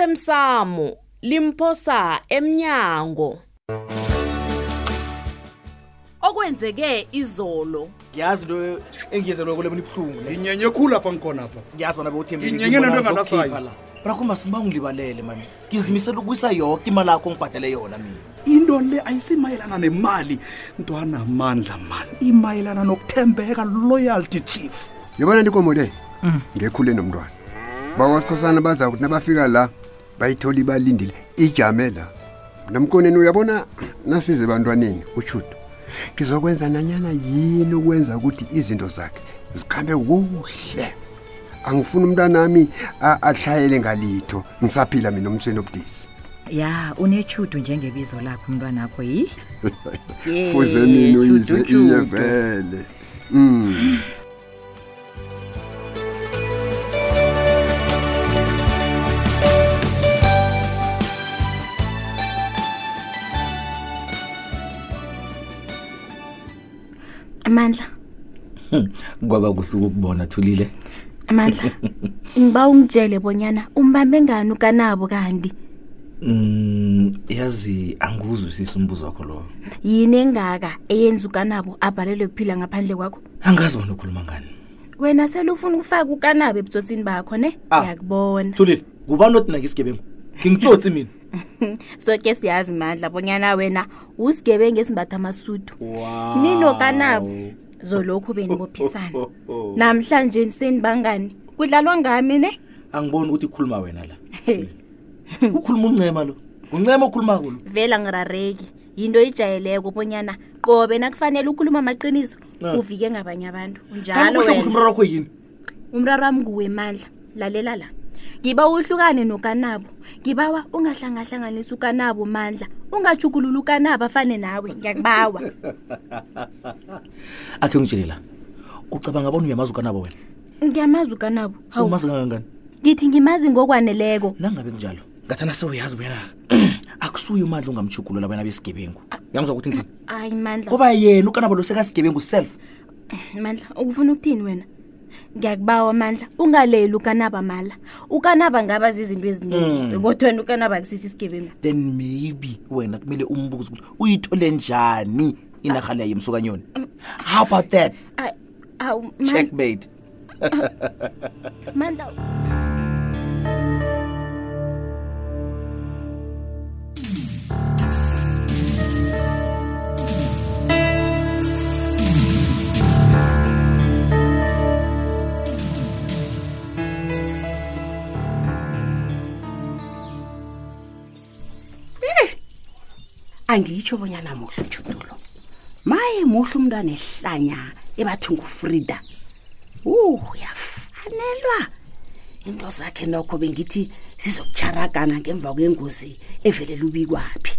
osemsamo limphosa emnyango okwenzeke izolo ngiyazi into engiyenzelwa kule mina ibuhlungu le inyenye khulu apha ngikhona apha ngiyazi bana Yinyenye nento enganasayi. brakoma sibangilibalele mani ngizimisele ukuyisa yoke imali akho ngibhadale yona mina into le ayisimayelana nemali ntwanamandla mani imayelana nokuthembeka loyalty chief yobona inkomo le ngekhule nomntwana bakwasikhosana baza kuthi nabafika la bayithola ibalindile ijame la namkoneni uyabona nasize ebantwaneni utshuto ngizokwenza nanyana yini ukwenza ukuthi izinto zakhe zikhambe kuhle angifuni umntanami a- atlhayele ngalitho ngisaphila mina umsweni obudisi ya unechudu njengebizo lakho umntwana akho yi Yeah, fuze mina uyize Judu, iye Judu. vele amandla kwaba kuhle ukukubona thulile amandla ngiba ungitshele bonyana umbambe ngani ukanabo kanti Mm, yazi angikuze usise umbuzo wakho lowo yini engaka eyenza ukanabo abhalelwe kuphila ngaphandle kwakho angazi wena ukhuluma ngani wena sele ufuna ukufaka ukanabo ebutsotsini bakho ne Ah. ngiyakubona thulile ngubani othi nake isigebengu ngingitsotsi mina soke siyazi mandla bonyana wena usigebengu esimbatha amasudu ninokanabo zolokhu benibophisana namhlanje senibangani kudlalwa ngami ne angiboni ukuthi kukhuluma wena la He, ukhuluma uncema lo nguncema okhuluma kulo vele angirareki yinto ijayeleko bonyana qobe nakufanele ukhuluma amaqiniso Ah. uvike ngabanye abantu kanti unjalo kuhle kuhle wena umraro wakho yini umraro wami nguwe mandla lalela la ngiba uhlukane nokanabo ngibawa ungahlangahlanganisi ukanabo mandla ungajukulula ukanabo afane nawe ngiyakubawa akhe ngitshele la ucabanga bona uyamazi ukanabo wena ngiyamazi ukanabo hawu umazi kangangani ngithi ngimazi ngokwaneleko nangabe kunjalo ngathana sewuyazi buyena akusuye umandla ungamjugulula wena besigebengu yamzwa ukuthi ngithini hayi mandla kuba yena ukanabo lo sekasigebengu self mandla ukufuna ukuthini wena ngiyakubawa mandla ungaleli ukanaba mala ukanaba ngaba zizinto eziningi kodwa wena ukanaba akusisi isigebengu then maybe wena kumele umbuze ukuthi uyithole njani inarha leyo yemsukanyoni how about that Ay, awu Mandla, checkmate mandla angitsho bonyana muhle ujudulo maye muhle umntwana ehlanya ebathi ngufrida u uyafanelwa into zakhe nokho bengithi zizokucharakana ngemva kwengozi evelele ubikwaphi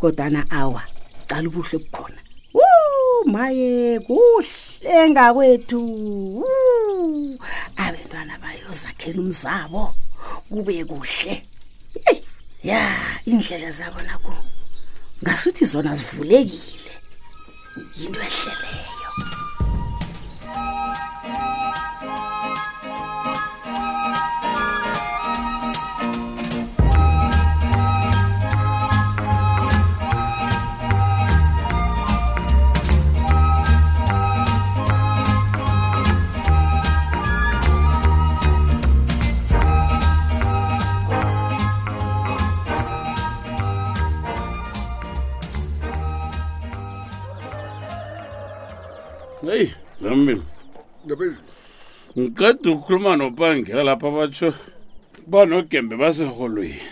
kodwana awa cala ubuhle bukhona u maye kuhle ngakwethu Wu, abentwana bayozakhela umzabo kube kuhle Eyi, ya indlela zabo nakubo ngasuthi zona zivulekile yinto ehleleyo heyi lambini ngiqeda ukukhuluma nopangela lapha batsho banogembe baseholweni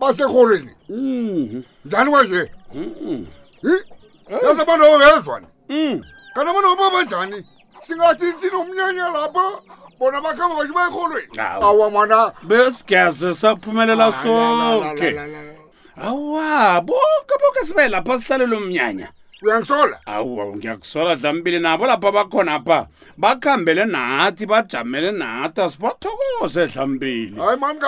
baserholweni Mhm. njani kwanje yase abantu babezwane Mhm. kanti abantu baba banjani singathi sinomnyanya lapha bona bakhamba basho baya erholweni Awu. awa mwana besigase saphumelela Ah, La, la, sonke la, la, la. awa bonke bonke sibe lapha sihlalelo mnyanya uyangisola awu ngiyakusola dlambili nabo lapha bakhona pha bakhambele nathi bajamele nathi asibathokoze dlambili hayi mani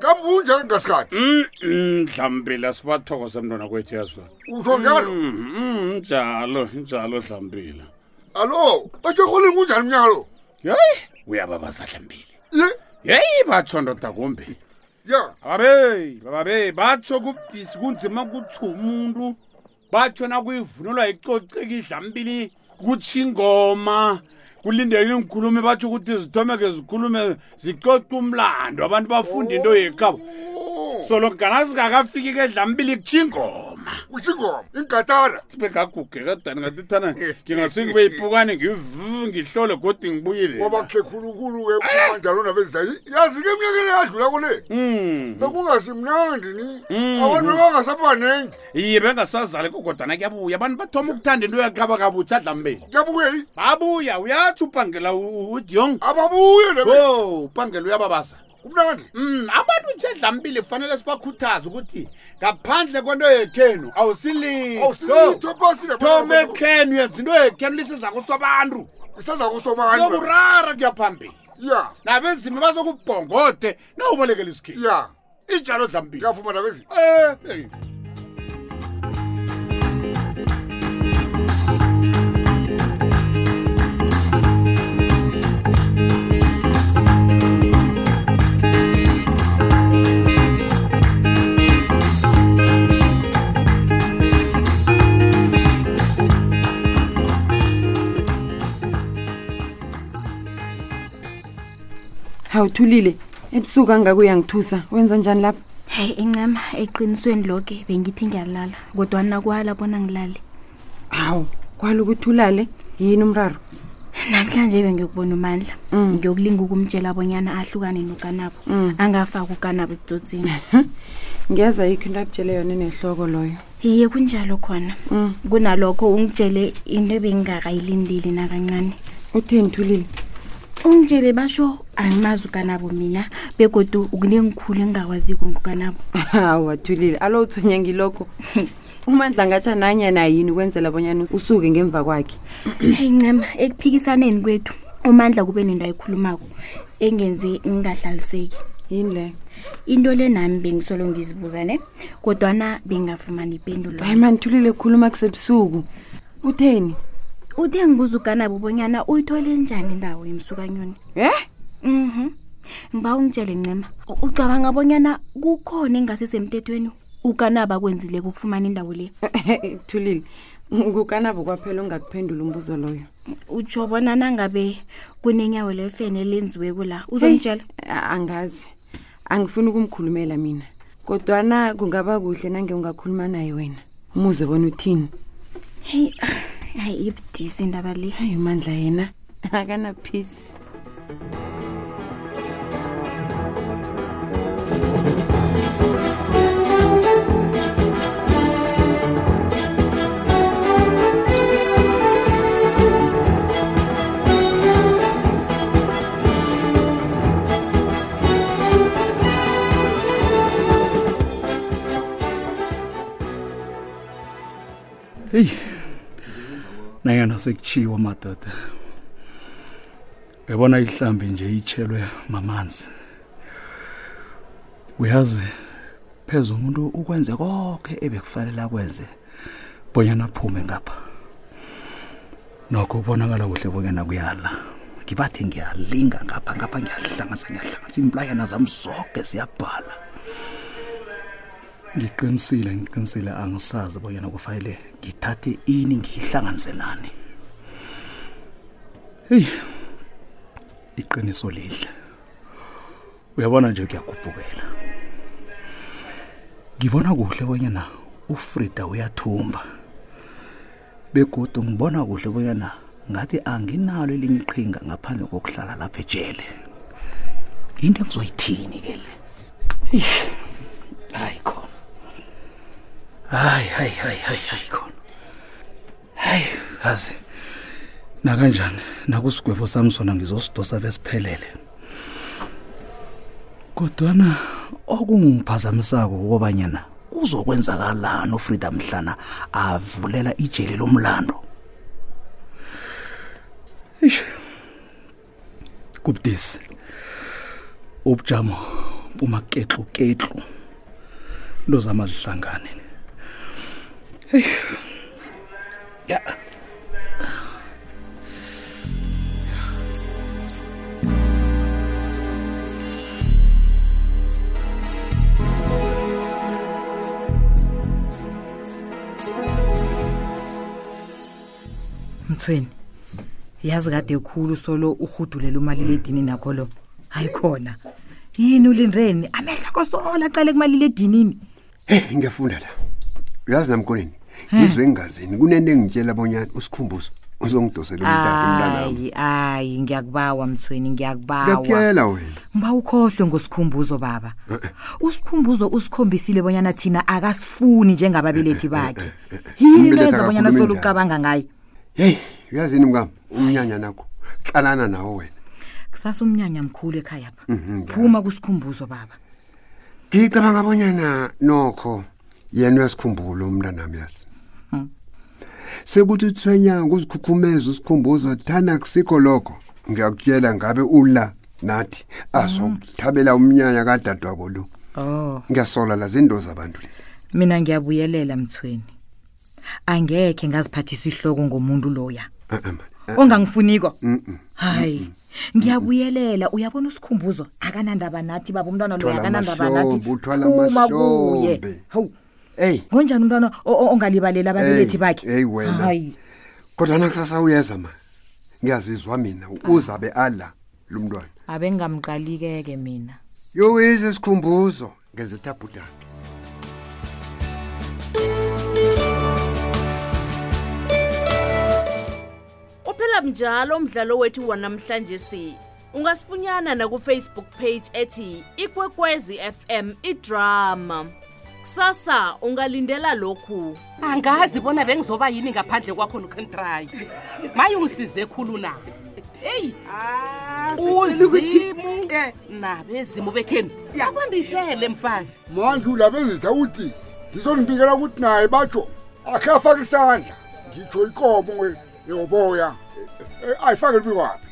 kambunje ngasikhathi Mm, dlambili asibathokoze mntwana kwethu yazwa usho njalo Mm, mm, njalo njalo dlambili allo basho erholweni kunjani umnyaka lo yeyi uyababaza dlambili ye yeyi batsho ndoda kumbi ya bababe bababe batsho kubudisi kunzima kuthi umuntu batsho nakuyivunulwa icoceka idlambili kutsho ingoma kulindekile ngikhulume batsho ukuthi zithomeke zikhulume zicoce umlando abantu bafunde into yekhabo Oh. sologana zingakafiki kedlambili kutsho ingoma kutsho ingoma ingatara sibe ngaguge kadani ngatithana ngingase ngibe yiphukane ngivu ngihlole godi ngibuyile ngoba kuhle khulukhulu-ke kumandalo nabenza yazi ke eminyakeni eyadlula kule Mm. Hmm. bekungasimnandi ni abantu bangasabanenge iye bengasazali kokodana kuyabuya abantu bathoma ukuthanda into yakhaba kabuthi adlambeli kuyabuyeyi babuya uyatsho ubhangela udyong ababuye o ubhangela uyababasa kumnandi Mm, abantu nje dlampile kufanele sibakhuthaze ukuthi ngaphandle kwento yekhenu Awusilitho phasi lapha. awusilitom ekhenu yenza into yekhenu lisiza kusobantu isaza kusobantu sokurara kuya phambili ya nabezima bazokubhongode nawubolekela isikhithi ya injalo dlampile ngiyavuma nabezi Eh, hawuthulile ebusuku angako uyangithusa wenza njani lapha heyi incama eqinisweni loke bengithi ngiyalala kodwana kwala bona ngilale hawu kwala ukuthi ulale yini umraro namhlanje bengiyokubona umandla ngiyokulinga ukumtshela abonyana ahlukane nokanabo angafaki ukanabo ebutotsini ngiyaza yikho into akutshele yona nehloko loyo iye kunjalo khona kunalokho ungitshele into ebengingakayilindeli nakancane utheni thulile ungitshele basho angimazi ukanabo mina begodu kunengikhulu engingakwaziko ngukanabo hawa thulile alo uthonya ngilokho umandla ngatsha nanyana yini ukwenzela bonyana usuke ngemva kwakhe heyi ncema ekuphikisaneni kwethu umandla kube nento ayikhulumako engenze ngingahlaliseki yini leyo into le nami bengisolo ngizibuza ne kodwana bengingafumani ipendulo hayi mani thulile khuluma kusebusuku utheni uthe ngibuza uganabo ubonyana uyithole njani indawo yemsukanyoni e mhm ngiba ungitshele ncema u- ucabanga bonyana kukhona engasisemthethweni ukanaba akwenzile ukufumana indawo le thulile ngukanabo kwaphela ungakuphendula umbuzo loyo utsho bona nangabe kunenyawo lefene lenziwe kula uzongitshela Hey, a- angazi angifuni ukumkhulumela mina kodwana kungaba kuhle nange ungakhuluma naye wena umuze bona uthini heyi hayi ibudisi indaba le hayi umandla yena akanaphisi heyi nangena sekutshiwo madoda uyabona ihlambi nje itshelwe mamanzi uyazi pheze umuntu ukwenze konke ebekufanele akwenze bonyana aphume ngapha nokho ubonakala kuhle bonyana kuyala ngibathi ngiyalinga ngapha ngapha ngiyahlanganisa ngiyahlanganisa implayana zami zonke ziyabhala ngiqinisile ngiqinisile angisazi bonyana kufanele ngithathe ini ngiyihlanganise nani heyi iqiniso lihle uyabona nje kuyagubhukela ngibona kuhle bonyana ufrida uyathumba begodu ngibona kuhle bonyana ngathi anginalo elinye iqhinga ngaphandle kokuhlala lapha ejele into engizoyithini ke le Eish, hayi khona hayi hayi hayi hayi hayi khona hayi yazi nakanjani nakusigwebo sami sona ngizosidosa besiphelele kodwana okungiphazamisako ukobanyana kuzokwenzakalani ufrida mhlana avulela ijele lomlando ish kubudisi ubujamo bumaketluketlu into zama zihlangane Eish. ya yeah. mthweni yazi kade khulu solo urhudulela umaliledinini akho lo hayi khona yini ulindreni amehla kosolo aqale kumaliledinini heyi ngiyafunda la uyazi namkoneni ngizwe engingazini kunento engitshela abonyana usikhumbuzo uzongidosela umntana umntanami hayi hayi ngiyakubawa mthweni ngiyakubawa ngiyakuyela wena mba ukhohlwe ngosikhumbuzo baba usikhumbuzo usikhombisile bonyana thina akasifuni njengababelethi bakhe yini Umbelethi into yenza bonyana akakhulumi solo ucabanga ngaye heyi uyazini mngam umnyanya nakho hlalana nawo wena kusasa umnyanya mkhulu ekhaya pha Mhm, phuma kusikhumbuzo baba ngicabanga abonyana nokho yena uyasikhumbula umntanami yazi Hmm. sekuthi uthwenya nguzikhukhumeza usikhumbuzo thana kusikho lokho ngiyakutshela ngabe ula nathi azokuthabela umnyanya kadadwabo lo oh ngiyasola la zinto zabantu lezi mina ngiyabuyelela mthweni angekhe ngaziphathisa ihloko ngomuntu loya Ah, ah, man. mm. Ah, ah. ongangifuniko Mm-mm. hayi ngiyabuyelela uyabona usikhumbuzo akanandaba nathi baba umntwana loyo Uthwala akanandaba nathi amahlombe, uthwala Phuma kuye amahlombe. hawu eyi ngonjani umntwana o- o- ongalibaleli ababelethi bakhe eyi wena hayi kodwa nakusasa uyeza ma ngiyazizwa mina uzabe ala lo mntwana abe ngingamqali-ke ke mina yowize isikhumbuzo ngeze tabhudana uphela njalo umdlalo wethu wanamhlanje si ungasifunyana na ku Facebook page ethi ikwekwezi fm idrama kusasa ungalindela lokhu angazi bona bengizoba yini ngaphandle kwakho nokhontrayi maye ungisize khulu na eyi uzimu nabezimu bekhenu akwandisele mfazi manje ulabezitha uthi ngizonibikela ukuthi naye batsho akhe afake isandla ngitsho ikomo nge- ngoboya Eh, eh, ayifake libikwaphi